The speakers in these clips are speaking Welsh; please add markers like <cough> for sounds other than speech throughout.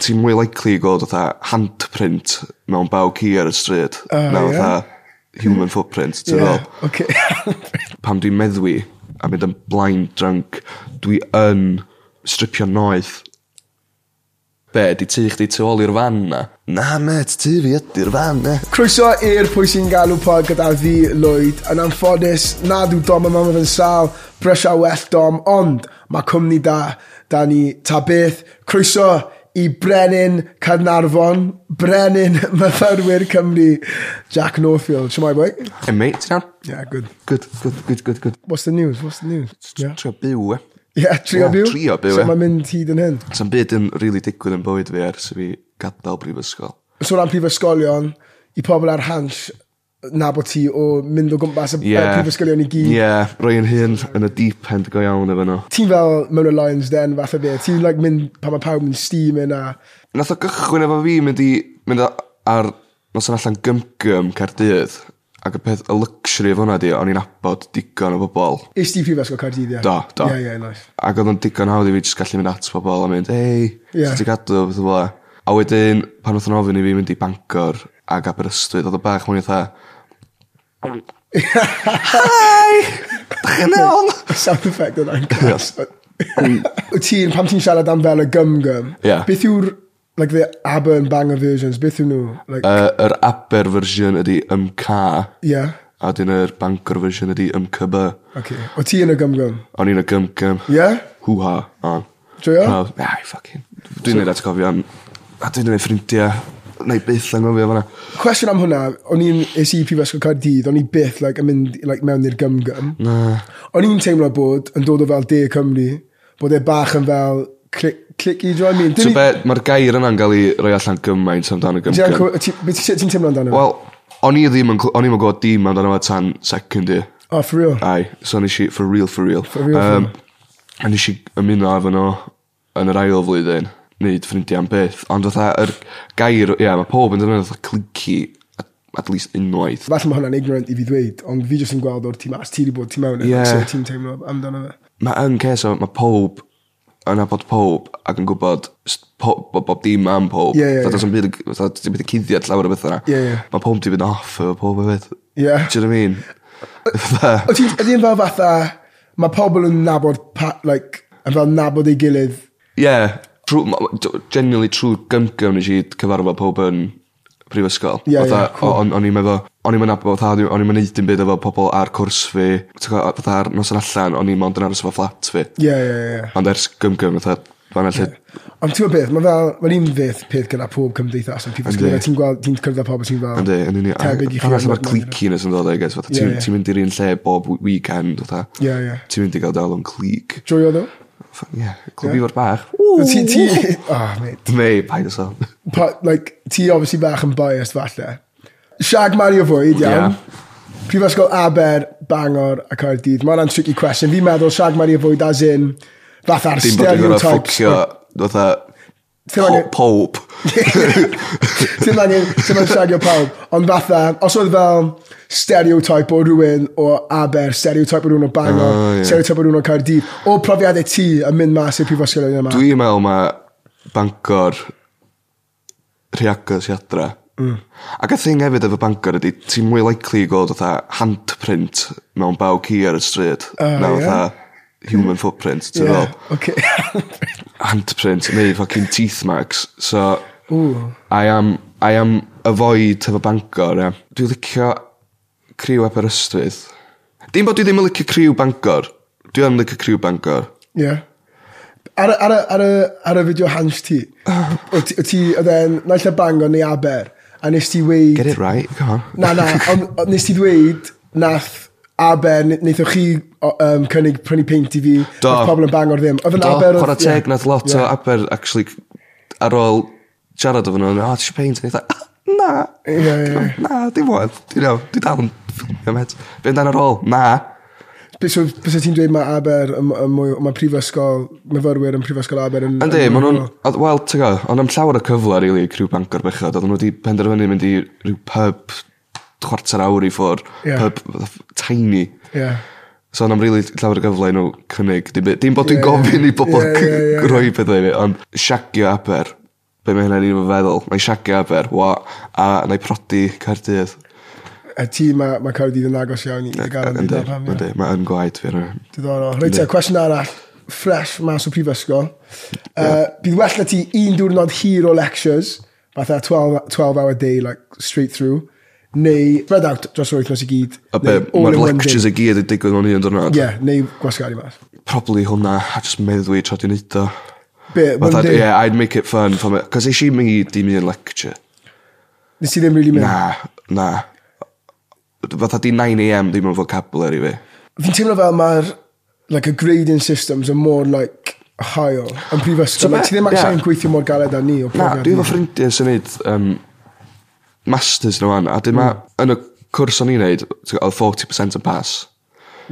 ti'n mwy likely i gweld fatha handprint mewn baw ci ar y stryd O, na ie. fatha human footprint, ti'n Ie, yeah. oce. <laughs> Pam dwi'n meddwi a mynd yn blind drunk, dwi yn stripio noeth. Be, di tu chdi tu ôl i'r fan na? Na, met, tu fi ydy'r fan na. Croeso i'r pwy sy'n galw pod gyda fi, Lloyd. Yn anffodus, nad yw Dom a mam yn sal, brysia well Dom, ond mae cwmni da, da ni ta beth. Croeso i Brenin Carnarfon, Brenin <laughs> Myfyrwyr Cymru, Jack Norfield. Siamai, boi? Hey, mate, ti'n iawn? Yeah, good. Good, good, good, good, good. What's the news? What's the news? Yeah, Trio byw, e. yeah trio Ie, byw? trio byw, So ie. mae'n mynd hyd yn hyn. Sa'n byd yn rili really digwydd yn bywyd fi ers i fi gadael brifysgol. So ran prifysgolion, i pobl ar hans, na bod ti o mynd o gwmpas y yeah. prifysgolion i gyd. Ie, yeah, roi yn hyn yn y deep end go iawn efo nhw. ti'n fel mewn y Lions Den fath o beth, ti'n like mynd pan mae pawb yn steam yn a... Nath o gychwyn efo fi mynd i mynd a- ar noson allan gymgym Cardydd ac y peth y luxury efo hwnna di o'n i'n abod digon o bobl Is ti prifysgol Cardydd, ie? do, do Ie, ie, nice. <laughs> ac oedd o'n digon hawdd i fi jyst gallu mynd at pobl a mynd hei, Ie. yeah. ti'n gadw beth o fel 'a. a wedyn pan oedd o'n ofyn i fi mynd i Bangor ac Aberystwyth oedd o bach mwyn i tha Hi! Dach chi'n iawn? Sound effect o'n ein cas. <laughs> Wyt ti'n, pam ti'n siarad am fel y gym-gym, Ie. beth yw'r, like, the Aber and Banger versions, beth yw nhw? Like, Yy, Yr Aber fersiwn ydi MK ie, a dyn yr Bangor fersiwn ydi MKB. oce. O ti yn y gym-gym? O'n i'n y gym-gym. Ie? Hw-ha. on. Joio? Pawb, Ai, ffocin. Dwi'n neud atgofion. A dwi'n neud ffrindiau. Neu byth angofio fanna. Cwestiwn am hwnna, o'n i'n es i prifysgol Cardydd, o'n i byth, like, yn mynd, like, mewn i'r gym-gym. Na. O'n i'n teimlo bod, yn dod o fel De Cymru, bod e bach yn fel clic- clicky, do you know what I mean? Dyn So ni- be, mae'r gair yna'n cael ei roi allan gymaint amdano Ti'n gym-gym. anco- ti- Beth ti- ti'n teimlo amdano? Well, Wel, o'n i ddim yn, cl- o'n i'm yn gwybod dim amdano fe tan second year. oh, for real. Ai, so nes i, for real, for real. For real, for A nes i ymuno efo nhw yn yr ail flwyddyn, neud ffrindiau am beth. Ond fatha, yr gair, ie, yeah, mae pob yn dynnu fatha clici, at, at least unwaith. Falle mae hwnna'n ignorant i fi ddweud, ond fi jyst yn gweld o'r tîm as ti wedi bod tîm mewn, Ie. yeah. so ti'n teimlo amdano fe. Mae yn ces o, mae pob yn abod pob ac yn gwybod s- po- bo- bob dim am pob. Ie, ie, Fatha, ie. does 'na'm byd yn- fatha, does 'na'm byd yn cuddiad llawer o bethau Ie, ie. Mae pob di fynd off efo pob o beth. Do Ie. you know what I mean? Fatha- Ydy yn fel fatha, mae pobl yn nabod, pa, like, yn fel nabod ei gilydd. Ie, trw, ma- d- generally trwy gymgym nes i cyfarfod pob yn prifysgol. Ie, ie, Fatha, cool. o- o'n- O'n i'n meddwl, o'n i'n meddwl, fatha, o'n i'n meddwl byd efo pobl ar cwrs fi, T'go, fatha ar noson allan, o'n i'n mond yn aros efo fflat fi. Ie, ie, ie. Ond ers gymgym, fatha, fan allu, Ond ti'n gwybod beth, mae fel, mae'n un beth peth gyda pob cymdeithas yn prifysgol. Yndi. fel Ti'n gweld, ti'n cyrraedd pobl sy'n fel... ynddi, yn unig, Tebyg i chi. pan allu mae'r ond- cliciness yn dod, I guess, fatha, ti'n ie. ti'n mynd i'r un lle bob w- weekend, fatha, Ie, ie. ti'n mynd i gael dal o'n clic. Joio ddo? Fatha, Ie, clwb i fod bach. Ti, ti, <laughs> oh, mate. Mei, paid o sôn. <laughs> pa, like, ti obviously bach yn biased falle. Siag Mario Fwyd, iawn. Ie. Prifysgol Aber, Bangor a Caerdydd. Mae hwnna'n tricky question. Fi'n meddwl Siag Mario Fwyd as in fatha'r Dim bod i'n gorau stereotypes. <laughs> ffocio, fatha, Ti'n angen- po- pob. Ti'n angen, ti'n angen siagio pawb. Ond fatha, os oedd fel stereotype o rhywun o Aber, stereotype o rhywun o Bangor, Ah, ie. stereotype o rhywun o Caerdydd, o profiadau ti yn mynd mas i'r prifysgol yma. Dwi'n meddwl mae Bangor rhiagos i adra. Mm. Ac y thing hefyd efo Bangor ydy, ti'n mwy likely i gweld fatha handprint mewn baw ci ar y stryd. Ah, na ie. fatha human footprint, ti'n Ie, yeah. Oce. Handprint, neu fucking teeth marks. So, <laughs> Ooh. I am, I am avoid efo Bangor, ia. Dwi'n licio criw Aberystwyth. Dim bod dwi ddim yn licio criw Bangor. Dwi yn licio criw Bangor. Ie. Ar, y- ar, y- ar, y- ar y fideo hans <sighs> ti, o ti, o ti oedd e'n naill y bangor neu aber, a nes ti Get weid... it right, come on. Na, na, ond ond nes ti ddweud nath aber, ne- neithoch chi o, um, cynnig prynu peint i fi, Do. nath pobl yn bangor ddim. Oedd yn Do, aber... oedd- chwarae teg, nath lot Ie. o Aber, actually, ar ôl siarad o fan nhw, oh, ti'n paint? Dwi'n dweud, na, Ie, ie. na, dim oedd, dwi'n iawn, dwi dal yn ffilmio met. Fynd ar ôl, na. Be- So, bys ti'n dweud mae aber, yn- yn mwy- mae prifysgol, myfyrwyr yn prifysgol aber yn... Yndi, yn- maen nhw'n, oedd- wel, ti'n go, ond am llawer o cyfle, rili, really, criw Bangor bechod, oedden nhw wedi penderfynu mynd i ryw pub chwarter awr i ffwr, Ie. pub fatha tiny. Ie. So am rili llawer o gyfle i nhw cynnig, dim, byd- dim bod dwi'n Ie, ie. gofyn i bobl Ie, ie, ie. roi pethau i fi, ond siagio Aber, Be mae hynna'n un o'n feddwl. Mae siaga aber, wa, a na i prodi Caerdydd. Y tîm mae ma Cardiff yn agos iawn i, i gael yn Yndi, dda pam. yndi, Mae yn gwaed fi arno. Diddorol. Reit te, Yndi. cwestiwn arall. Fresh mas o prifysgol. Uh, bydd well na ti un diwrnod hir o lectures, fatha 12, 12 hour day, like, straight through, neu spread out dros yr wythnos i gyd. A be, neu all mae'r in one lectures i day. gyd yn digwydd mewn un dwrnod. Ie, neu gwasgaru mas. Probably hwnna, a just meddwi tra dwi'n neud o. Be, But one I'd, day? yeah, I'd make it fun for me. Cos eisiau mi dim un lecture. Nes ti ddim really mynd. Na, na. Fatha di 9am ddim yn vocabulary fi. Fi'n teimlo fel mae'r, like, y grading systems yn mor, like, hael yn So prifysgol. like, be- ti ddim ie. actually yn gweithio mor galed â ni o Na, profiad dwi ni. efo ffrindiau sy'n neud um, masters nhw an, a dwi ma, yn y cwrs o'n i'n neud, ti'n gwbod, oedd 40% yn pass,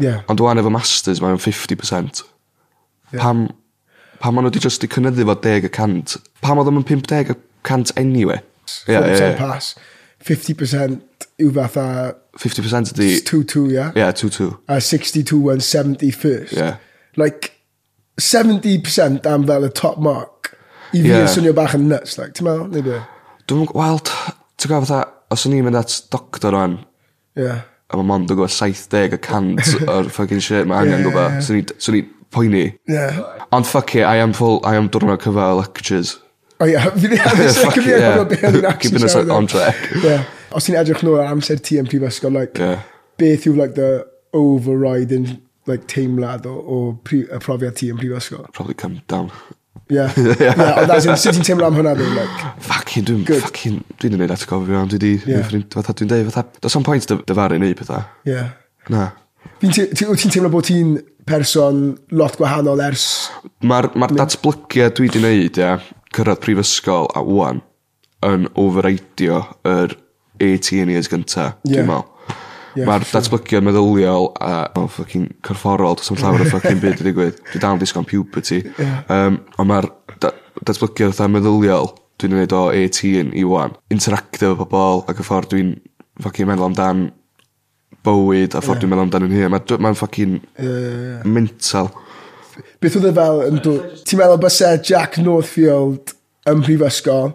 Ie. ond dwi'n efo masters mae'n 50%. Ie. Pam, pam o'n nhw di just i cynnyddu fo 10%, pam oedd o'n 50% anyway? Ie, ie, 40% ie. pass. 50% yw fatha 50% ydi... 2-2, ie? Ie, 2-2. a 62 and 71st. Yeah. Like, 70% am fel y top mark. I fi Yeah. yeah. swnio bach yn nuts, like, ti'n meddwl? Neu be? Dwi'n gwybod, wel, t- ti'n gwybod fatha, os o'n i'n mynd at doctor o'n, Yeah. a mae mond yn gwybod <laughs> 70% o'r fucking shit mae Ie, angen ie, ie. gwybod, swn i'n- swn i'n poeni. Yeah. Ond fuck it, I am full, I am diwrnod cyfa o lectures. O ie, Oh, <laughs> <laughs> fi ddim yn Yeah, siarad fuck it, yeah. <laughs> Keeping us on track. <laughs> Yeah. Os ti'n edrych nôl ar amser ti yn prifysgol, like, Yeah. beth yw, like, the overriding, like, teimlad o, o pri, y profiad ti yn prifysgol? Probably come down. <laughs> Yeah. yeah, ond as in, sut ti'n teimlo am hwnna, dwi'n, like, Fucking, dwi'n Good. fucking, dwi'n neud atgofio am, dwi di, Yeah. yeah. ffrind, fatha, dwi'n deud, fatha, does am pwynt dy- dyfaru neu pethau. yeah. Na. Fi'n te- ti- Wyt ti'n teimlo bod ti'n person lot gwahanol ers Mae'r ma datblygiad dwi di neud, ia, cyrraedd prifysgol a wwan, yn overreidio yr 18 years gynta, Yeah. dwi'n meddwl. Yeah, Mae'r for sure. datblygiad meddyliol a oh, fucking corfforol, does am llawer o fucking byd i ddigwydd. Dwi dal yn disgyn puberty. Yeah. Um, ond mae'r da- datblygiad fatha meddyliol, dwi'n gwneud o 18 i wan. Interactive efo pobol ac y ffordd dwi'n fucking meddwl amdan bywyd a ffordd dwi'n meddwl amdan yn hyn. Mae'n ma fucking Yy, mental. Beth oedd e fel yn dod? Ti'n meddwl bysau Jack Northfield yn prifysgol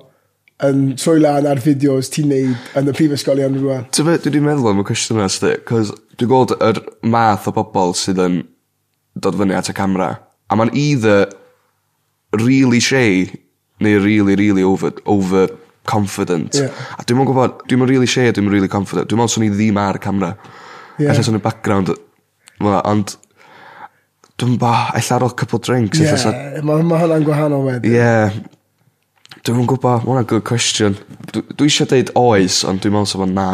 yn troi lan ar fideos ti'n neud yn y prifysgol i anwyl rwan? Ti'n beth, dwi wedi meddwl am y cwestiwn yna, sti, cos dwi'n gweld yr math o bobl sydd yn dod fyny at y camera, a mae'n either really shy, neu really, really over, over confident. Ie. A dwi'n mwyn gwybod, dwi'n mwyn really shy, dwi'n mwyn really confident. Dwi'n mwyn swn i ddim ar y camera. Ie. Yeah. Alla swn i background, ma, ond dwi'n ba, alla ar ôl couple drinks, Ie, yeah. alla mae ma hwnna'n gwahanol wedyn. Ie. Yeah. Dwi'n mwyn gwybod, mae hwnna'n good question. Dwi, dwi eisiau deud oes, ond dwi'n meddwl sef o'n na.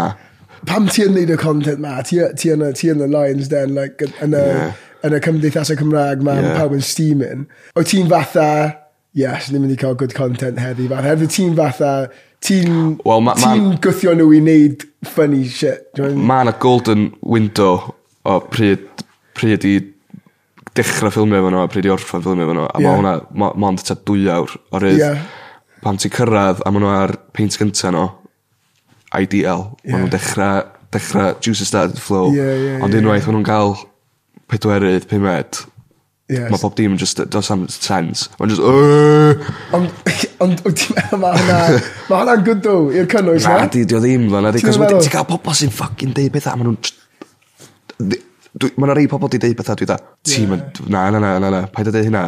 Pam ti yn neud y content ma? Ti, ti, yn, y- ti yn y Lions Den, like, yn- yn y, Ie. yn y cymdeithasau Cymraeg ma, Ie. yeah. pawb yn steaming. O ti'n fatha, yes, ni'n mynd i cael good content heddi. Fatha, hefyd ti'n fatha, ti'n Wel, ma- ma- ti'n gwthio nhw i neud funny shit. Dwi'n Mae yna golden window o pryd, pryd i dechrau ffilmio efo nhw a pryd i orffa ffilmio efo nhw. A Ie. mae hwnna mo- mond ta dwy awr o rydd. Ie. Pam ti'n cyrraedd a maen nhw ar peint gynta nhw, IDL, yeah. maen Ie. nhw'n dechrau, dechrau juices started to flow. Ie, ie, Ond ie, unwaith maen nhw'n cael pedwerydd, pumed, Yes. Mae bob dim yn just, does am sense. Mae'n just, "Yy." Ond, <laughs> ond wyt ti'n meddwl mae <laughs> hwnna, mae hwnna'n good do i'r cynnwys Na, na? di, di o ddim fel na, di. Ti'n Cos meddwl? wedyn ti'n cael pobl sy'n ffucking deud bethau, maen nhw'n... Dwi- dwi- Ma' 'na rei pobl di deud bethau, dwi da. Ti'n mynd, na, na, na, na, na, paid o deud hynna.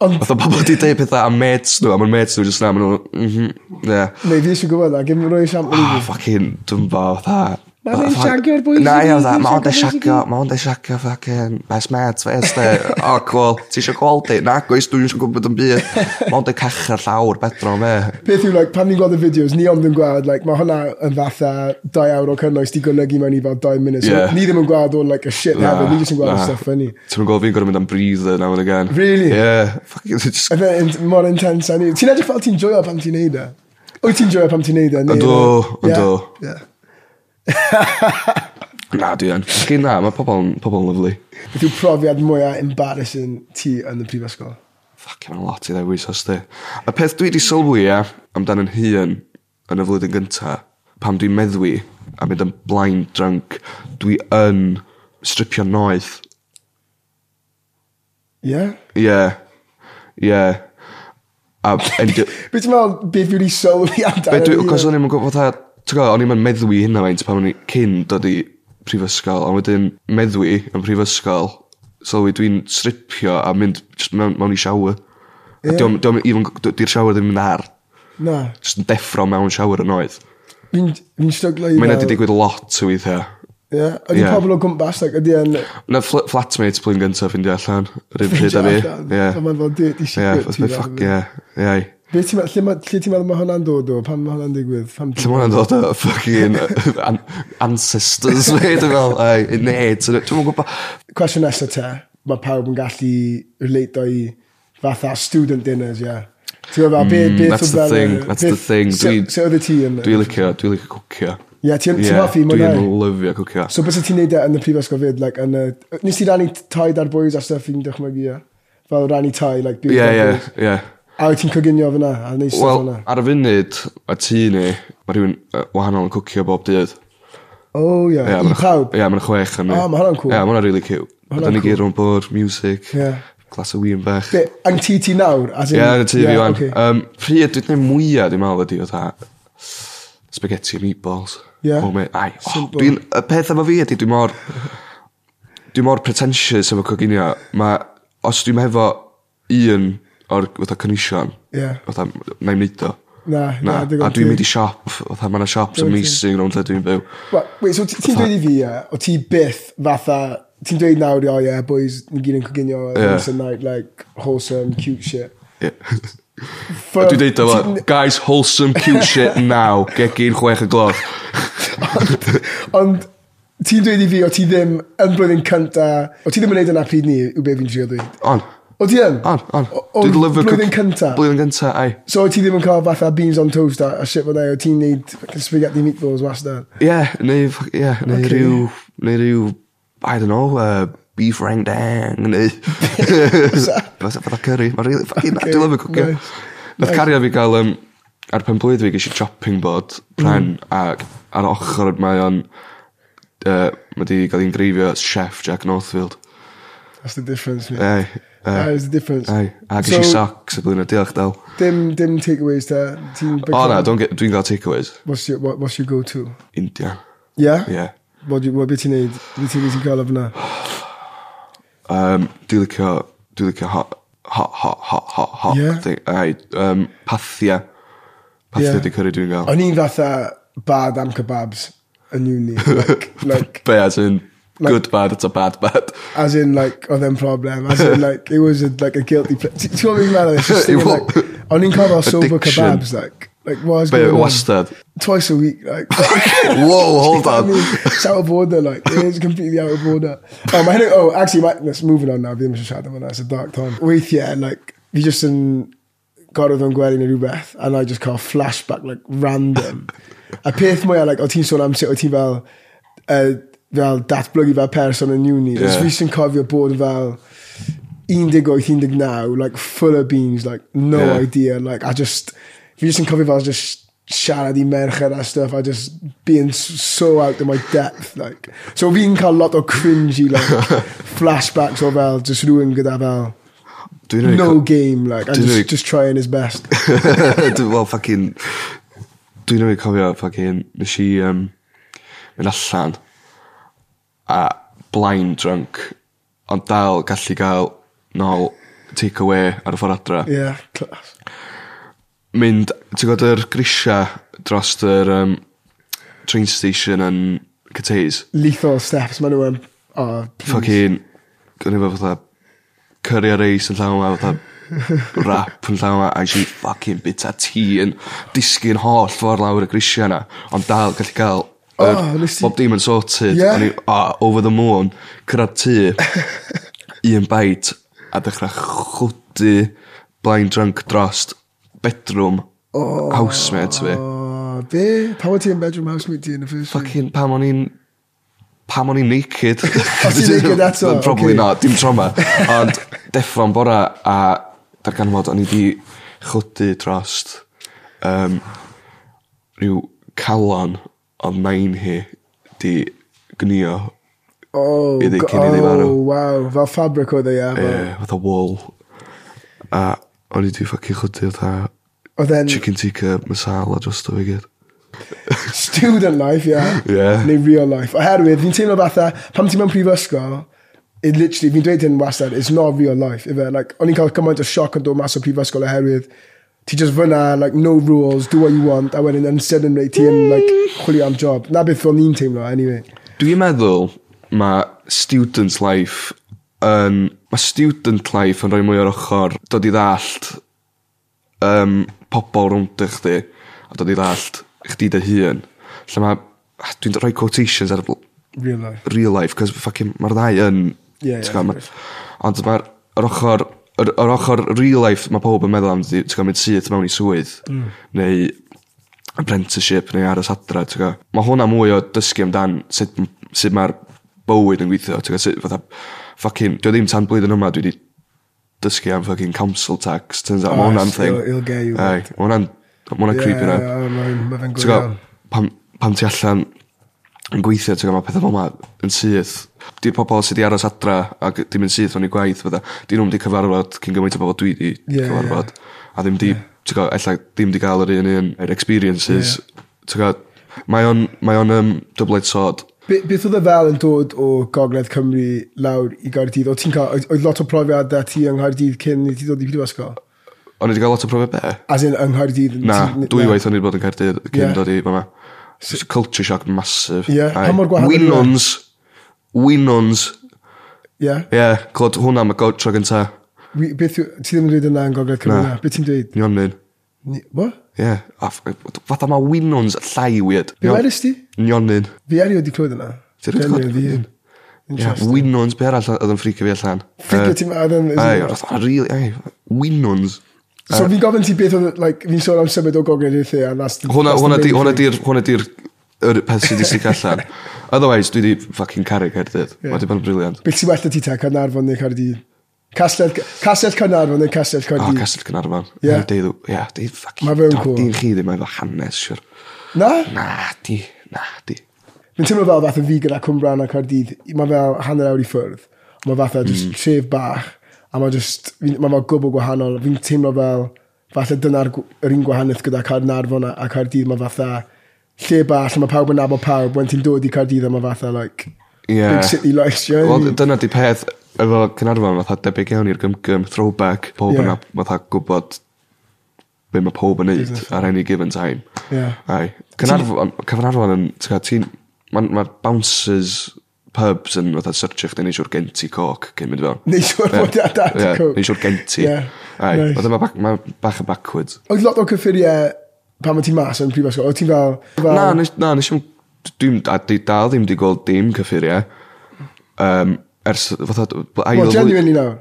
Ond, Oedd o pobl di deud bethau am mates nhw, a maen mates nhw, jyst na, maen nhw, mhm, ie. neu fi eisiau gwybod na, gym roi siam yn Ah, fucking, dwi'n bo, fatha. Ma' fe'n siagio'r boys Na, i ie, gyd, fatha, fe'n ma' ond e siagio'r boys i siagio, ma' ond e siagio, fucking, best mates, fes de. O, cool, ti eisiau gweld di? Na, gweis, dwi'n eisiau gwybod yn byd. Ma' ond e cacha'r llawr, bedro me. Peth yw, like, pan ni'n gweld y fideos, ni ond yn gweld, like, mae hwnna yn fatha 2 awr o cynnwys di golygu mewn i fel 2 munud. So, Ie. Ni ddim yn gweld all, like, a shit Na, hefyd, ni jyst yn gweld na. stuff funny. Ti'n gweld fi'n gorau mynd am breather now and again. Really? Yeah. Fucking, just A fe, in- mor intense a ni. Ti'n edrych fel ti'n joio pam ti'n neud e? Wyt ti'n joio pam ti'n neud e? neu- Yndw, Ie, yndw. ie. Na, dwi yn. Gyn na, mae pobl yn pobl yn lyflu. Beth yw profiad mwyaf embarrassing ti yn y prifysgol? Fucking mae'n lot i ddewis os di. Y peth dwi wedi sylwi, ia, amdan yn hun yn y flwyddyn gynta, pam dwi'n meddwi a mynd yn blind drunk, dwi yn stripio noeth. Ie? Ie. Ie. A endio... Beth ti'n meddwl, beth yw'n i sylwi Be amdano dwi, ni? cos o'n i'n gwybod fatha, ti'n gwybod, o'n i'n mynd meddwi hynna faint pan o'n i cyn dod i prifysgol, a wedyn meddwi yn prifysgol, sylwi dwi'n stripio a mynd jyst mewn, mewn i siawer. Yeah. Di'r di siawer ddim yn ar, Na, jyst yn deffro mewn siawer yn oedd. fi'n fi'n stryglo i Mae hynna feddwl. wedi digwydd lot o weithiau. Ie, Ydy Ie. pobl o gwmpas, ac ydy yn... Na fl flatmates blwyddyn gyntaf ffindio allan, yr un pryd a fi. Ie, A mae'n fel, di, di ie, secret. fath beth ffac, ie, ie. Be ti'n meddwl, lle ma- lle ti'n meddwl mae hwnna'n dod o? Pan mae hwnna'n digwydd? Pam ti'n Lle mae hwnna'n dod o <laughs> fucking an ancestors <laughs> fi, dwi'n fel, ai, ne, ti'n mwyn gwybod. Cwestiwn nesaf te, mae pawb yn gallu relateio i fatha student dinners, ie. Ti'n gwybod, be, Mm, be that's the thing, that's the thing. Dwi- Se oedd y ti yn... Dwi'n licio, dwi'n licio cwcio. Ie, ti'n ti'n hoffi, Ie, mwynhau? Dwi'n lyfio cwcio. So beth ti'n neud e yn y prifysgol fyd, like, yn y... Nes ti rannu taid ar boys a stuff fi'n dychmygu, ie? Fel rannu tai, like, bywyd Ie, ar ie, boys. ie. A wyt ti'n coginio fyna, a neud stuff Wel, fyna. ar y funud, a tŷ ni, mae rhywun yy, wahanol yn cwcio bob dydd. O, ie, Ie, i mae'n pawb. Ie, mae'n chwech yn ni. O, ma' hwnna'n cŵl. Ie, mae hwnna'n really cute. hwnna'n Da ni cŵl. gyd rhwng bod, music, Ie. glas o wyn bach. Ie, Be, ang ti ti nawr? as in- yn y tŷ Ie, fi wan. oce. Yym, Pryd, dwi'n gwneud mwyaf, dwi'n meddwl ydi, oedd e- spaghetti and meatballs. Ie. Oh, me- Ai, o, Simple. dwi'n, y peth efo fi ydi, dwi'n mor, dwi'n mor pretentious efo coginio. Ma, os dwi'n hefo un o'r fatha cynnision, Ie. fatha, na i'n neud o. Na, na, Na, digon a dwi'n teg. mynd i siop, fatha, mae yna siops Digon teg. amazing rhwng lle dwi'n byw. Wel, wait, so ti- ti'n dweud i fi, ie, o ti byth fatha, ti'n dweud nawr, o ie, boys, ni gyd yn coginio, Ie. it's a night, like, wholesome, cute shit. Ie. A Dwi'n deud o, fo, guys, wholesome, cute shit now, gegin chwech y gloch. Ond, ti'n dweud i fi, o ti ddim yn blwyddyn cynta, o ti ddim yn neud yna pryd ni, yw be fi'n trio dweud. On, O ti yn? on, on. O- o'r blwyddyn cynta. Blwyddyn cynta, ai. So o ti ddim yn cael fatha beans on toast a, a shit fel na, o ti'n neud fucking spaghetti meatballs wastad. Ie, neu, f- ie, neu Ocê. ryw, neu ryw, I don't know, uh, beef rang dang, <laughs> neu... Fytha fytha curry, mae'n really, fucking, Ocê, dwi'n lyfio cwcio. nice. Nath cario fi gael, um, ar pen blwydd fi, gysi chopping board, Mm. pren, ac ar ochr mae o'n, uh, mae di gael i'n greifio chef Jack Northfield. That's the difference, mate. Ei, That ei, is the difference. ei, a gysi So- socks y blwyddyn, diolch dal. Dim, dim takeaways ta. Ti'n... O na, don't get- dwi'n gael takeaways. What's your, what, what's your go-to? India, Yeah? ie. Yeah. What, do you, what beth ti'n neud? Beth ti'n ti'n cael o fyna? Um, dwi'n licio, dwi'n licio hot, hot, hot, hot, hot, hot. Ie. thing. Ai, um, pathia. Pathia Ie. yeah. di cyrru dwi'n gael. O'n i'n fatha bad am kebabs yn uni. <laughs> Like, like, Be as in, Like- good bad, it's a bad bad. as in, like, oedd e'n problem. As in, like, it was a, like a guilty... ple- Ti- Ti'n gwybod beth meddwl? It's just It thinking, wa- like, o'n i'n cael o sober Addiction. kebabs, like, like, what is Be, going on? wastad. Twice a week, like... <laughs> Whoa, hold I mean, on. it's out of order, like, it is completely out of order. Oh, mae hynny, oh, actually, mae, let's moving on now, fi ddim eisiau siarad am hwnna, it's a dark time. Weithiau, like, fi just yn gorfod o'n gwely neu rhywbeth, and I just cael flashback, like, <laughs> random. a peth mwyaf, like, o ti'n sôn am sut o ti fel, uh, fel datblygu fel person yn uni. Yeah. Ie. Fi sy'n cofio bod yn fel 18, 19, like, full of beans, like, no Ie. idea, like, I just, fi just yn cofio fel just siarad i merched a stuff, I just being s- so out of my depth, like. So fi'n cael lot o cringy, <laughs> like, flashbacks o fel, just rhywun gyda fel, Dwi'n rhaid... no game, like, and Did just, he- just trying his best. <laughs> Dwi'n, well, fucking... Dwi'n rhaid cofio, fucking, nes i um, mynd allan a blind drunk, ond dal gallu gael nôl take away ar y ffordd adra. Yeah, class. mynd, ti'n gwybod yr grisia dros yr um, train station yn Cateys? Lethal steps, maen nhw yn, oh, Fucking, gynnu fe fatha, curry a reis yn llawn ma, fatha, rap yn llawn ma, a eisiau fucking bita ti yn disgyn holl ffordd lawr y grisia na, ond dal gallu gael yr Oh, nes ti- bob dim yn sorted. Ie. O'n i, oh, over the moon, cyrraedd <laughs> tŷ, un bait, a dechrau chwdu blind drunk drost bedroom oh. housemate fi. Oh, be? Pa wyt ti yn bedroom housemate ti yn y first week? Fucking pam o'n i'n pam o'n i'n <laughs> naked. ti'n <laughs> naked eto? Well, Probably Ocê. not, dim trauma. Ond deffro'n bora a darganfod o'n i di chwdu drost um, rhyw calon o nain hi di gnio Oh, Iddi go- cyn iddi farw. Oh, wow. Fel fabric oedd e, ia. fel- e, fath o wall. A O'n i di ffocin chwydu fatha Oedd e'n chicken tikka masala dros o fi gyd. student life, yeah. Ie. Neu real life. Oherwydd, fi'n teimlo fatha, pam ti mewn prifysgol, it literally, fi'n dweud hyn wastad, it's not real life, ife. Like, o'n i'n cael cymaint o sioc yn dod mas o prifysgol oherwydd, ti just fyna, like, no rules, do what you want, a wedyn yn sydyn reit ti yn, like, chwilio am job. Na beth o'n i'n teimlo, anyway. Dwi'n meddwl mae student life yn... Mae student life yn rhoi mwy o'r ochr dod i ddallt um, pobl rwnd i chdi a dod i ddallt chdi dy hun. Lle mae... ah, Dwi'n rhoi quotations ar y bl- Real life. real life, cos fucking mae'r ddau yn... Ie, ie, ti'n gwbod, ma- wrth Ond mae'r yr ochr, yr, yr ochr real life mae pob yn meddwl am, ti'n gwybod, mynd syth mewn i swydd, Mm. neu apprenticeship, neu aros adra, ti'n gwybod. Mae hwnna mwy o dysgu amdan sut, m- sut mae'r bywyd yn gweithio, ti'n gwybod, sut fatha, fucking, dwi ddim tan blwyddyn yma, dwi wedi dysgu am fucking council tax, ti'n gwybod, Oh, mae hwnna'n it's- thing. it'll- it'll get you, Ai, Mae hwnna'n, mae hwnna'n creepy Yeah, na. yeah, mae'n- ma' fe'n go Ti'n iawn. gwybod, pam, pam ti allan yn gweithio, ti'n gwybod, mae pethau fel yma yn syth. Di'r pobol sydd wedi aros adra ac dim yn syth o'n i gwaith, fydda. Di nhw'n di cyfarfod cyn gymaint o bobl dwi di Ie, cyfarfod. A ddim di, ti'n gwybod, ella ddim di gael yr un un yr experiences. Ti'n gwybod, mae o'n, mae o'n um, dyblaid sod. Be- Beth oedd y fel yn dod o Gogledd Cymru lawr i Gaerdydd? Oedd ti'n cael, oedd- oedd lot o profiadau ti yng Nghaerdydd cyn i ti dod i Prifysgol? O'n i wedi cael lot o profiad be? As in yng Nghaerdydd? Na, ti- dwy na. waith o'n i wedi bod yn Caerdydd cyn Ie. dod i fyma. Culture shock massive. Ie, Ai. pa mor gwahanol yw e? Winons. Winons. Ie? Ie, yeah, clod hwnna mae gael tro gynta. Wi- Beth yw, ti ddim yn dweud yna yn Gogledd Cymru Na. na? Beth ti'n dweud? Nionyn. Ni- What? Ie. a f- Fatha mae Winons llai weird. Be wedest ti? Nionyn. Fi erioed wedi clywed yna. Ti erioed Genuine, clywed? fi un. Ie, Interesting. Winons, be arall oedd yn ffricio fi allan? Ffricio ti ma- oedd yn- Ai, oedd yn rili, ai, Winons. So fi'n gofyn ti beth oedd, like, fi'n sôn am symud o Gogledd i'r the, a nas... Hwna, nas hwna di, dim hwna byd. di'r, hwna di'r, yr peth sydd wedi stick <laughs> allan. Otherwise, dwi di fucking caru Caerdydd. Ie. Mae di bod yn briliant. Beth sy'n well ti ta, Carnarfon neu Cardydd? Castell, Castell Carnarfon neu Castell O, Cardydd? Castell Cynarfon. Ie. Ie. Deud, ie, deud fucking... Ma' fe'n do- cool. Di'n chi ddim efo hanes, siwr. Na? Na, di, na, di. Mae'n teimlo fel fath yn fi gyda Cwmbran a Cardydd. Mae fel hanner awr i ffwrdd. Mae fatha Hmm. just mm. tref bach. A mae just, fi- mae fel gwbl gwahanol. Fi'n teimlo fel, fatha dyna'r gw- yr un gwahaniaeth gyda Carnarfon a, a Cardydd. Mae fatha lle bach, a mae pawb yn nabod pawb. When ti'n dod i Cardydd, a mae fatha, like, Ie. big city life. you know what I Wel, mean? dyna di peth efo Cynarfon, fatha debyg iawn i'r gymgym, throwback, pob Ie. yna, fatha gwybod be mae pob yn neud ar any given time. Ie. Ai. Cynarfon, Cynarfon yn, ti'n gwbod, ti'n, mae'n ma bouncers pubs yn fatha searchio chdi, neu siwr gen ti coc cyn mynd fewn. Neu siwr bod Ie. a dad Ie, coke. Neu siwr gen ti. Ie. Ai, Nice. oedd yma bach- ma' bach yn backwards. Oedd lot o cyffuriau pan mae ti mas yn prifysgol. Oedd ti'n fel... fel Na, nes, na, nes i'm... Dwi'n a di- dal ddim di gweld dim cyffuriau. Um, ers, fatha, ail... Wel, flwy- genuinely nawr.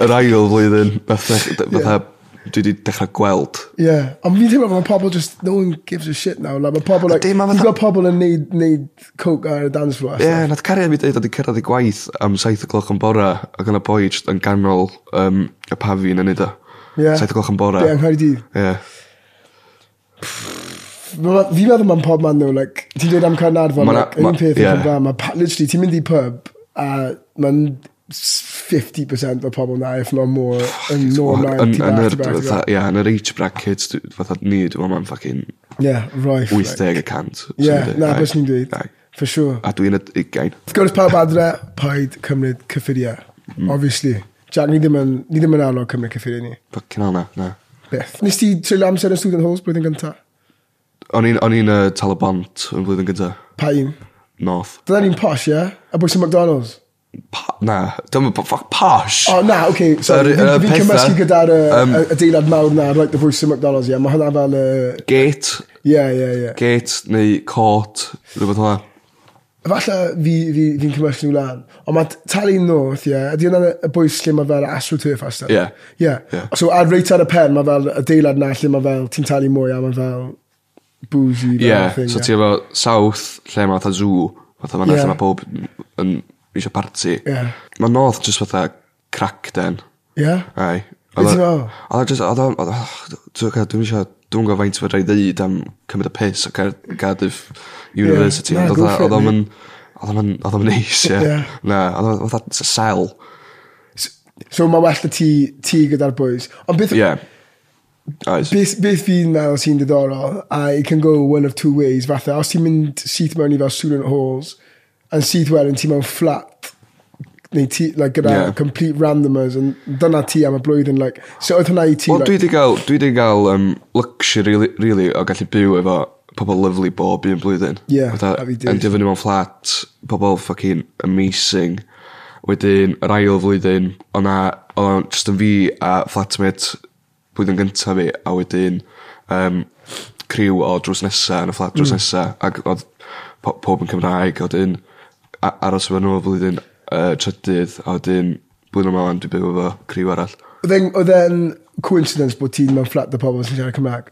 yr ail flwyddyn fatha, fatha dwi wedi dechrau gweld. Yeah, ond fi'n teimlo fel mae pobl just, no one gives a shit now. Like, mae pobl, like, dim, ma' you've fatha- got pobl yn neud, neud coke ar y dance floor. Ie, Yeah. yeah, nad cariad mi dweud oedd i cyrraedd i gwaith am 7 o'clock yn bora ac yn y boi jyst yn ganol um, y pafi'n yn neud o. Ie. 7 o'clock yn bora. Be, yng Nghaerdydd. Ie. Ma- Fi'n meddwl mae'n pob man nhw, like, ti'n dweud am Carnarfon, Ma' na- like, un ma- peth ie. yn Cymra, mae, pa- literally, ti'n mynd i pub, a mae'n 50% o pobl na, if not more, yn nôl na, Yn- ti yn bach, yr- ti bach, ti fatha- bach. Ie, yn yr age bracket, dwi- fatha ni, dwi'n meddwl mae'n fucking Yeah, roif. like. 80 y cant. Yeah, na, beth ni'n dweud. Ai. For sure. A dwi'n y 20. Wrth gwrs, pawb adre, paid cymryd cyffuriau. Mm. Obviously. Jack, ni ddim yn, ni ddim yn anodd cymryd cyffuriau ni. Fucking hell na, na. Beth. Nes ti treulio amser yn student halls blwyddyn gynta? O'n i'n o'n i'n, yy, Talabont yn flwyddyn gyda. Pa un? North. Dyna ni'n posh, ie? Yeah? A bwys yn McDonald's? Pa, na, dyma, fuck, posh. O, oh, na, oce. Okay, Yr- sorry, y fi'n petha, cymysgu gyda'r yy, yym, y- y deilad mawr na, like the bwys yn McDonald's, ie. Yeah? Mae hwnna fel... yy, Gate, Ie, ie, ie. gate neu court, rhywbeth hwnna. Falle fi, fi, fi'n cymysgu nhw lan. Ond mae talu north, ie. Yeah? Ydy hwnna'n y bwys lle mae fel astroturf a stuff? Ie. Ie. Ie. So, ar reit ar y pen, mae fel y deilad na lle mae fel ti'n talu mwy a mae fel Ie, boozy. fel yeah, thing, so ie. ti efo south, lle mae fatha zoo, fatha fanna Ie. lle mae pob yn eisiau party. Ie. Mae north jyst fatha crackden. Ie? Ai. Be' ti'n meddwl? Oedd o jyst, oedd o, oh, oedd o, dwi'n gwybod, dwi'n gwybod, dwi'n gwybod faint fydra i ddeud am cymryd y piss o Car- Cardiff University. na, Ond go oedd o- for it, oedd o'n mate. mynd, oedd o'n mynd, oedd o'n mynd neis, ie. Ie. Na, oedd o'n fatha sel. So mae well y ti, ti gyda'r boys. Ond beth, Yeah. Oes. beth, beth fi'n meddwl sy'n diddorol, a it can go one of two ways, fatha, os ti'n mynd syth mewn i fel student halls, yn syth wedyn ti mewn flat, neu ti, like, gyda Yeah. complete randomers, yn dyna ti am y blwyddyn, like, so oedd hwnna i ti, Wel, dwi like, di gael, dwi di gael um, luxury, really, really, o gallu byw efo pobl lyflu bob un blwyddyn. Yeah, Fatha, a fi di. Yn dyfynu mewn fflat, pobl fucking amazing. Wedyn, yr ail flwyddyn, o'na, o'na just yn fi a flatmate blwyddyn gyntaf fi, a wedyn um, criw o drws nesa yn y fflat drws mm. nesa, ac oedd po- pob yn Cymraeg, a wedyn a- aros efo nhw flwyddyn uh, trydydd, a wedyn blwyddyn yma ond dwi byw efo criw arall. oedd e'n- oedd e'n coincidence bod ti'n mewn flat dy pobl sy'n siarad Cymraeg?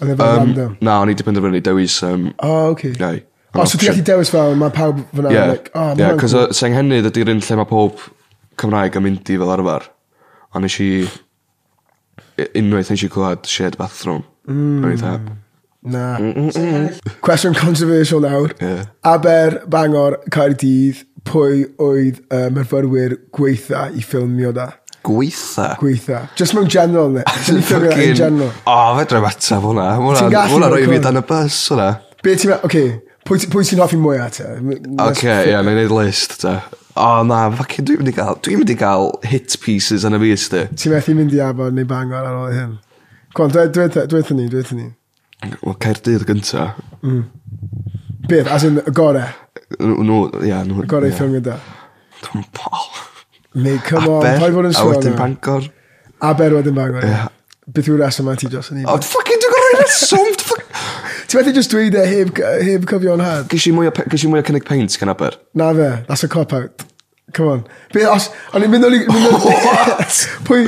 Oedd e'n fel Um, random? na, o'n i di penderfynu dewis... Um, O, oh, okay. Neu. O, so ti'n gallu dewis fel, mae pawb fyna, Yeah, like, oh, yeah, mae'n cos o- seng hynny ydy'r un lle mae pob Cymraeg yn mynd i fel arfer. A nes i... u- Unwaith nes i clywed shared bathroom. Mm. O'n i dda. Na. Cwestiwn controversial nawr. Mm, Ie. Aber Bangor Caerdydd, pwy oedd y myfyrwyr gweitha i ffilmio da? Gweitha. Gweitha. Just mewn general, <laughs> ne? Dwi'n ffilmio da in general. O, fedra i atab hwnna. Ma' hwnna- Ti'n ma' gallu Hwnna roi fi record. dan y bus hwnna. Be ti'n meddwl, oce, pwy ti- pwy ti'n hoffi mwy at e? Ok, ie, yeah, na'i neud list, da. O, na, ffacin, dwi'n mynd i gael, dwi'n mynd i gael hit pieces yn y fus, di. Ti'n methu mynd i afon neu Bangor ar ôl hyn? Cwan, dweud ni, dweud ni. Wel, Caerdydd gynta. Beth, as in y gore, Nhw, ie, nhw. y gore i ie. ffilmio da. Dwi'n bol. Neu, come on, pa'i bod yn a wedyn sôn. Bangor. Aber wedyn Bangor. ie. Ie. Beth yw'r reswm ma ti dros yn ni? O, ffucking, dwi'n gorau reswm! ffuck- Ti'n methu just dweud e heb, heb cofio'n had? Ges i mwy o pe- ges i mwy o cynnig peint gan aber. Na fe, that's a cop-out. Come on. Be, os, o'n i'n mynd o'n i'n mynd o'n <laughs> Pwy,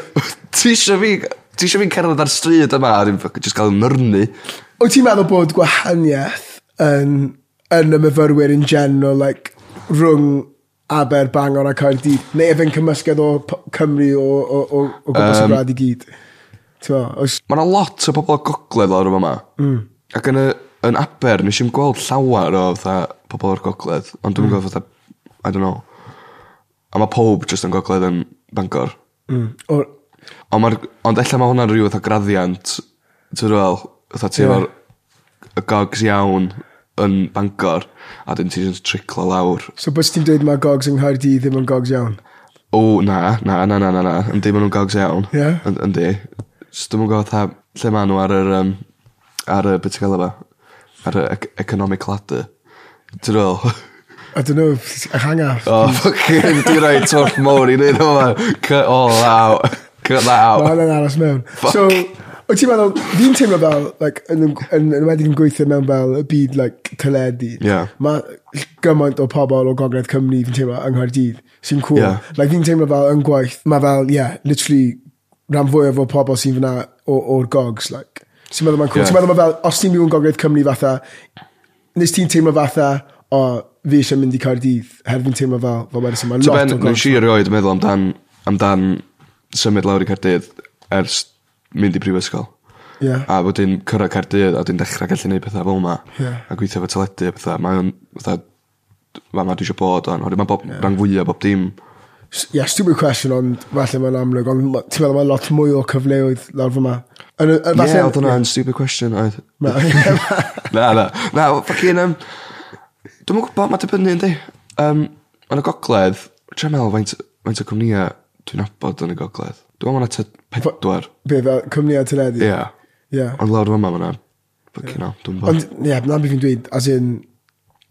<laughs> Ti isio fi... Ti isio fi'n cerdded ar stryd yma a dwi'n ffucking just gael nyrnu. wyt ti'n meddwl bod gwahaniaeth yn, yn y myfyrwyr in general, like, rhwng Aber, Bangor a Caerdydd, neu efo'n cymysgedd o P- Cymru o, o, o, o gwmpas y brad i gyd? Ti'n meddwl, oes- Mae yna lot o bobl o gogledd lawr yma. Mm. Ac yn, y, yn aber, nes i'n gweld llawer o fatha pobl o'r gogledd. Ond Mm. dwi'n gweld fatha... I don't know. A mae pob just yn gogledd yn Bangor. mm, o- Ond, ma'r, ond ella mae hwnna'n rhyw fath o graddiant, ti'n rhywbel, fatha ti Ie. efo'r y gogs iawn yn Bangor, a dyn ti'n triclo lawr. So bys ti'n dweud mae gogs yng Nghaerdydd ddim yn gogs iawn? O, na, na, na, na, na, na, yndi maen nhw'n gogs iawn. Ie. Yn- Yndi. So dwi'n gwybod fatha, lle maen nhw ar yr, um, ar y, beth ti'n gael efo? Ar y ec- economic ladder. Ti'n rhywbel? I don't know, I hang <laughs> out. O, ffucking, dwi'n rhoi twrch mowr i neud hwnna. Cut all out. Cut that out. Mae hwnna'n aros mewn. So, wyt ti'n meddwl, fi'n teimlo fel, like, yn, yn, yn wedi yn gweithio mewn fel y byd, like, teledu. Ie. Mae gymaint o pobl o Gogledd Cymru, fi'n teimlo, yng Nghaerdydd, sy'n cool. Ie. Like, fi'n teimlo fel yn gwaith, mae fel, yeah, literally, rhan fwyaf o pobl sy'n fyna o- o'r gogs, like. Ti'n meddwl mae'n cool. Ie. Ti'n meddwl mae fel, os ti'n byw yn Gogledd Cymru fatha, nes ti'n teimlo fatha, o, fi eisiau mynd i Cardydd, her fi'n teimlo fel, fel wedyn, mae Ti'n lot ben, o nes gogs. i erioed meddwl amdan, amdan symud lawr i Cardydd ers mynd i brifysgol. Ie. A wedyn cyrraedd Cardydd a wedyn dechrau gallu gwneud pethau fel yma. Ie. A gweithio efo teledu a pethau. Mae'n fatha, fa ma dwi eisiau bod o'n. Oherwydd mae bob rang fwyaf bob dim. yeah, stupid question, ond falle mae'n amlwg, ond ma- ti'n meddwl mae lot mwy o cyfleoedd lawr fyma. Yn y- yn- Ie, falle- oedd hwnna yn stupid question. Oedd. <laughs> Na. Na, na. Na, ffacin... Um, Dwi'n mwyn gwybod, mae dibynnu yn di. Um, yn y gogledd, dwi'n meddwl faint, faint o cwmnïau dwi'n abod yn y gogledd. Dwi'n meddwl mae'n pedwar. Be, fel cymniad teledu? Ie. Yeah. Ond lawr yma mae'na... Fucking hell, dwi'n bod. Ond, ie, na beth fi'n dweud, as in,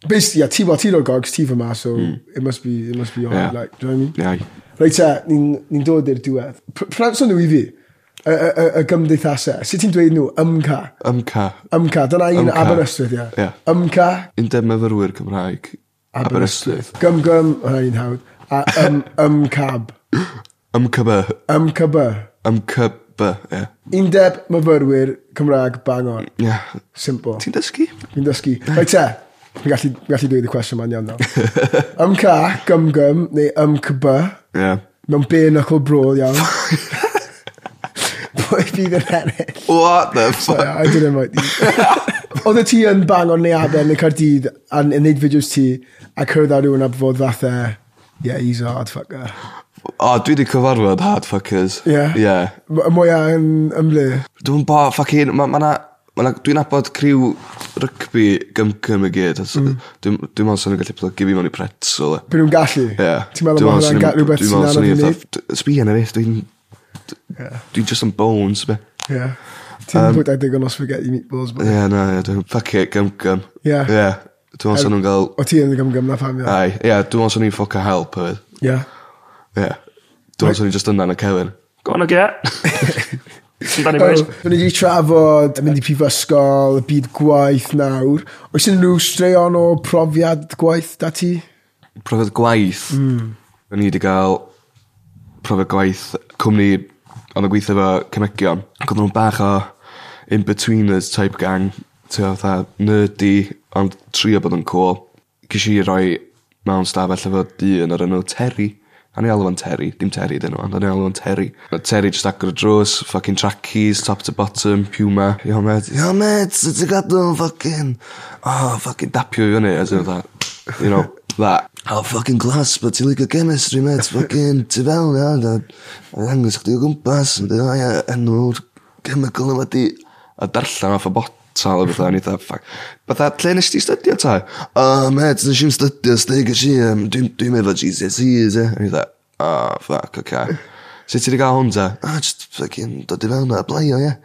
basically, yeah, ti fel ti'n o'r gogs, ti fyma, so Hmm. it must be, it must be on, Yeah. like, do you know what I mean? Iau. Reit te, ni'n ni dod i'r diwedd. Pr- Prynhawn nhw i fi, y, y, y, y gymdeithasau, sut ti'n dweud nhw, ymca, Ymca. ymca, dyna un Ymca. Aberystwyth, ie. Ie. Ymca, Undeb myfyrwyr Cymraeg. Aberystwyth. Gym gym, hwnna un hawdd, a ym, ymcab. Ymcyby. MCB. Ymcyby. Ie. Undeb myfyrwyr Cymraeg Bangor. Ie. Simple. Ti'n dysgu? Fi'n dysgu. Rhaid te. Fi'n gallu, fi'n gallu dweud y cwestiwn ma'n iawn <laughs> nawr. MCA, gymgym, neu MCB, Ie. mewn bare knuckle brawl iawn. <laughs> Pwy fydd yn ennill? What the fuck? I don't know what Oedd y ti yn bangor neu aber neu cardydd a'n yn neud fideos ti a cyrraedd ar rhywun a bod fatha, yeah, he's a hard fucker. O, dwi di cyfarfod hardfuckers. Ie. Ie. M- Mwy yn ymlu. Dwi'n bo, ffucking, ma, ma na, ma na, dwi'n abod criw rygbi gymgym i gyd. Mm. Dwi'n dwi meddwl sy'n gallu plygu fi mewn i pretzel. e. Byd nhw'n gallu. Ie. Ti'n meddwl bod hwnna'n gael rhywbeth sy'n anodd i wneud? Sbi yn eich, dwi'n... Dwi'n just yn bones, be. Ie. Ti'n pwynt ag digon o spaghetti meatballs. but- Ie, na, ie, dwi'n fuck it, gymgym. Ie. Ie. Dwi'n meddwl sy'n nhw'n gael... O ti yn y gymgym na pam ie. Ai, ie, dwi'n meddwl sy'n nhw'n ffocca help, hefyd. Ie. Ie. Dwi'n meddwl sy'n nhw'n just yna yn y cewin. Go on again. Amdani boys. Fyna i trafod mynd i prifysgol, y byd gwaith nawr. Oes unrhyw straeon o profiad gwaith da ti? profiad gwaith. Mm. O'n i wedi gael profiad gwaith cwmni ond yn gweithio efo cymegion. Ac oedden nhw'n bach o in-betweeners type gang. Ti'n fatha nerdy, ond trio bod yn cool. Cis i roi mewn stafell efo dyn o'r enw Terry. A ni alw fo'n Terry, dim Terry dyn nhw, ond a ni alw fo'n Terry. A Terry just agor y drws, fucking trackies, top to bottom, puma. Yo med, yo med, sut ti'n gadw, fucking, oh, fucking dapio i fyny. A ti'n fatha, you know, that. Oh, fucking glass, but ti'n licio chemistry, mate. Fucking, ti fel, ia, da. Mae'n angos chdi o gwmpas, yn dweud, ia, enw'r chemical yma di. A darllen off y botal o bethau, o'n i dda, ffac. Bydda, lle nes ti studio ta? O, oh, mate, nes i'n studio, stig y si, um, dwi'n dwi efo GCSEs, ia. O'n i dda, o, oh, ffac, oce. Okay. Sut ti wedi gael hwn ta? O, oh, just fucking, dod i fewn a blaio, ia.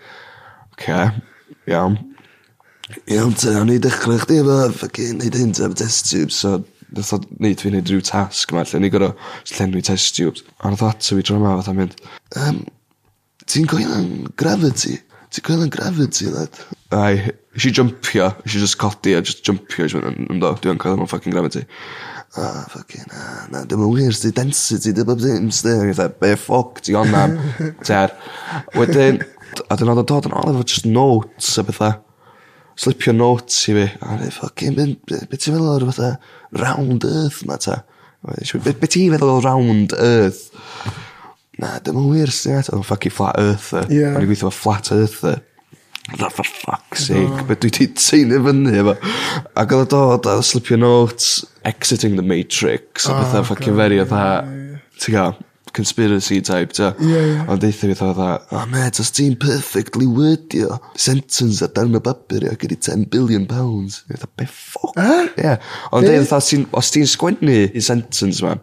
Oce, iawn. Iawn te, o'n i dechrau chdi efo ffocin neud hyn te efo test tubes, so nath o neud fi neud rhyw task ma, lle ni gorau llenwi test tubes. A nath o ato fi tro yma fatha mynd, um, ti'n coel yn gravity? Ti'n coel yn gravity, lad? Ai, eisiau jumpio, eisiau just codi a just jumpio, eisiau mynd, ynddo, dwi'n coel yn ffocin gravity. Ah, ffocin, ah, na, dim yn wir, sti density, dim yn ddim, sti, a fatha, be ffoc, ti ond <laughs> am, ter. Wedyn, a dyn oedd o dod yn ôl efo just notes a bethau slipio notes i fi. A ni, ffocin, beth be ti'n meddwl o'r fatha round earth ma ta? Beth be ti'n feddwl o round earth? Na, dim yn wir sy'n eto. Ffocin flat earther. Ie. O'n i gweithio fo flat earther. Na, for fuck's sake, beth dwi di teimlo fyny efo. Ac oedd o dod a slipio notes, exiting the matrix, a Oh, bethau ffocin God, feri ie, o dda, ti'n gael, conspiracy type, ta. Ie, ie. Ond deitha fi dda, dda, oh mate, os ti'n perfectly wordio sentence a darn o bapur ia, gyda 10 billion pounds. Ie, dda, be ffoc? Eh? Ie. Ond Be? deitha, fatha, os ti'n- os ti'n sgwennu i sentence ma,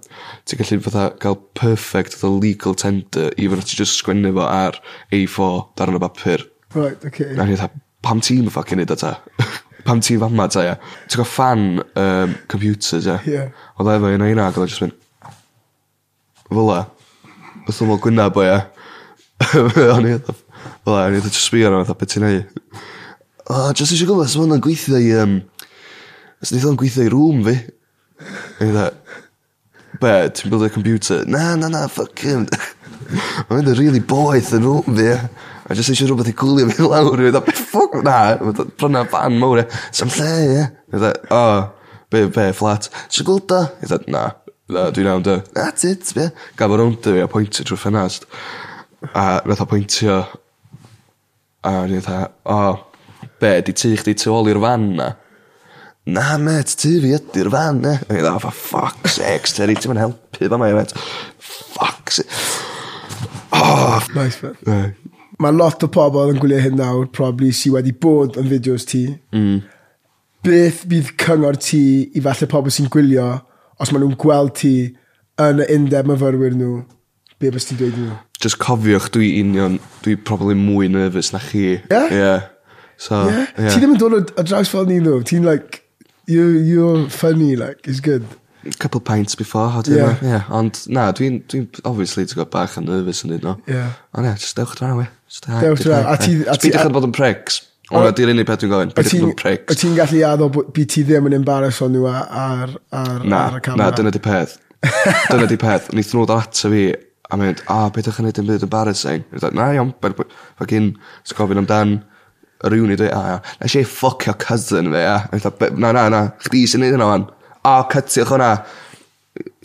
ti'n gallu fatha cael perfect the legal tender, even os ti'n just sgwennu fo ar A4 darn o bapur. Right, oce. A ni dda, pam ti'n ffucking neud o ta? <laughs> pam ti'n fama ta, ia? Ti'n cael fan um, computers, ia? Ie. Oedd efo un o hynna, ac oedd o just mynd... Fyla. Beth o'n gwynna bo, ia? <laughs> O'n i dda... Fyla, o'n i dda just sbio arno, dda, beth ti'n ei? O, just eisiau gwybod, sef hwnna'n gweithio i... Um, Os wnaeth o'n gweithio i rŵm fi. O'n i dda... Be, ti'n build a computer? Na, na, na, fuck him. <laughs> Mae'n mynd yn really boeth yn rŵm fi. ia. A jyst eisiau rhywbeth i gwylio fi lawr. Mae'n dweud, ffoc, na. Mae'n dweud, bryna fan mawr. ia. Sam lle, ie. Mae'n dweud, o, be, be, flat. Ti'n gwylda? Mae'n dweud, na. Na, dwi'n iawn, dy. That's it, be. Gaf o rownd fi a pwyntio trwy ffenast. A nath o pwyntio. A ni dweud, o, be, di tu chdi tu ôl i'r fan na? Na, met, ti fi ydy'r fan, e. O'n i dda, for fuck's sake, Terry, ti'n mynd helpu fa mae, met. Fuck's sake. Oh, Nice, man. Ie. Mae lot o pobl yn gwylio hyn nawr, probably, sy wedi bod yn fideos ti. Mm. Beth bydd cyngor ti i falle pobl sy'n gwylio os maen nhw'n gweld ti yn y undeb myfyrwyr nhw? Be bys ti'n dweud i nhw? Just cofiwch, dwi union, dwi probably mwy nervous na chi. Ie? Yeah. So, Yeah? ie. Ti ddim yn dod o- o draws fel ni nhw. Ti'n like, you, you're funny, like, it's good. Couple pints before, how do Ie. yeah. yeah. Ond, na, dwi'n, dwi obviously, ti'n gwybod bach yn nervous yn dweud, no. Ie. Ond ie, just dewch draw, we. Just Dewch draw. A ti- a ti- Bydych yn bod yn pregs. Ond ydy'r unig peth dwi'n gofyn, O bydych yn ti'n bod yn pregs. ti gallu addo bod byd ti ddim yn embarrass o nhw a- ar, ar, Na, ar y na, camera? dyna di peth. dyna di peth. Nid nhw dod ato fi a mynd, a, beth ydych chi'n neud yn byd embarrassing? Dwi'n dweud, na, iawn, beth ydych chi'n gofyn amdan yr uni, dwi, a, ia, na i ffocio cousin fe, ia. Dwi'n dweud, na, na, na, chdi sy'n neud hynna fan. A, cytiwch hwnna.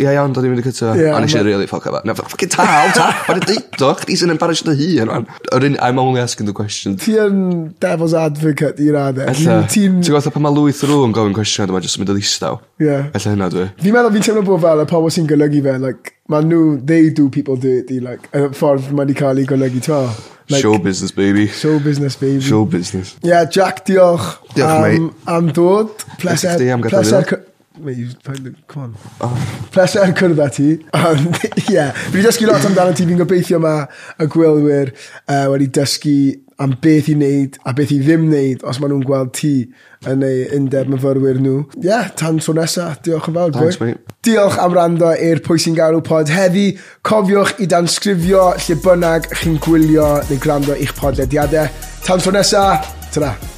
Ie iawn, do'n i'n mynd i cyto. Ie, Yeah, a nes i ma- really fuck about. No, fucking taw, taw. Mae'n deud o, chdi sy'n embarrassed dy hun. rwan. Yr un, I'm only asking the question. Ti yn devil's advocate i raddau. Ella, ti'n Ti'n... gwybod pan mae Louis Theroux yn gofyn cwestiwn a dyma jyst yn mynd o ddistaw. Ie. Ella hynna dwi. Fi'n meddwl fi'n teimlo bod fel y pobl sy'n golygu fe, like, ma nhw, they do people dirty, like, y ffordd mae wedi cael ei golygu, twa. Like, Show business, baby. show business, baby. Show business. Ie, yeah, Jack, diolch. Diolch, am, am dod. Diolch Pleser. i chdi am gadael pleser fi cy- Mate, you probably- come on. Oh. Pleser er cwrdd â ti. Ond, <laughs> Ie, fi wedi dysgu lot amdano ti. Fi'n gobeithio mae y gwylwyr uh, wedi dysgu am beth i wneud a beth i ddim wneud os maen nhw'n gweld ti yn eu undeb myfyrwyr nhw. Ie, yeah, tan tro nesa. Diolch yn fawr. Thanks, boi. mate. Diolch am rando i'r Pwy sy'n galw pod heddi. Cofiwch i dansgrifio lle bynnag chi'n gwylio neu gwrando i'ch podlediadau. Tan tro nesa, tyra.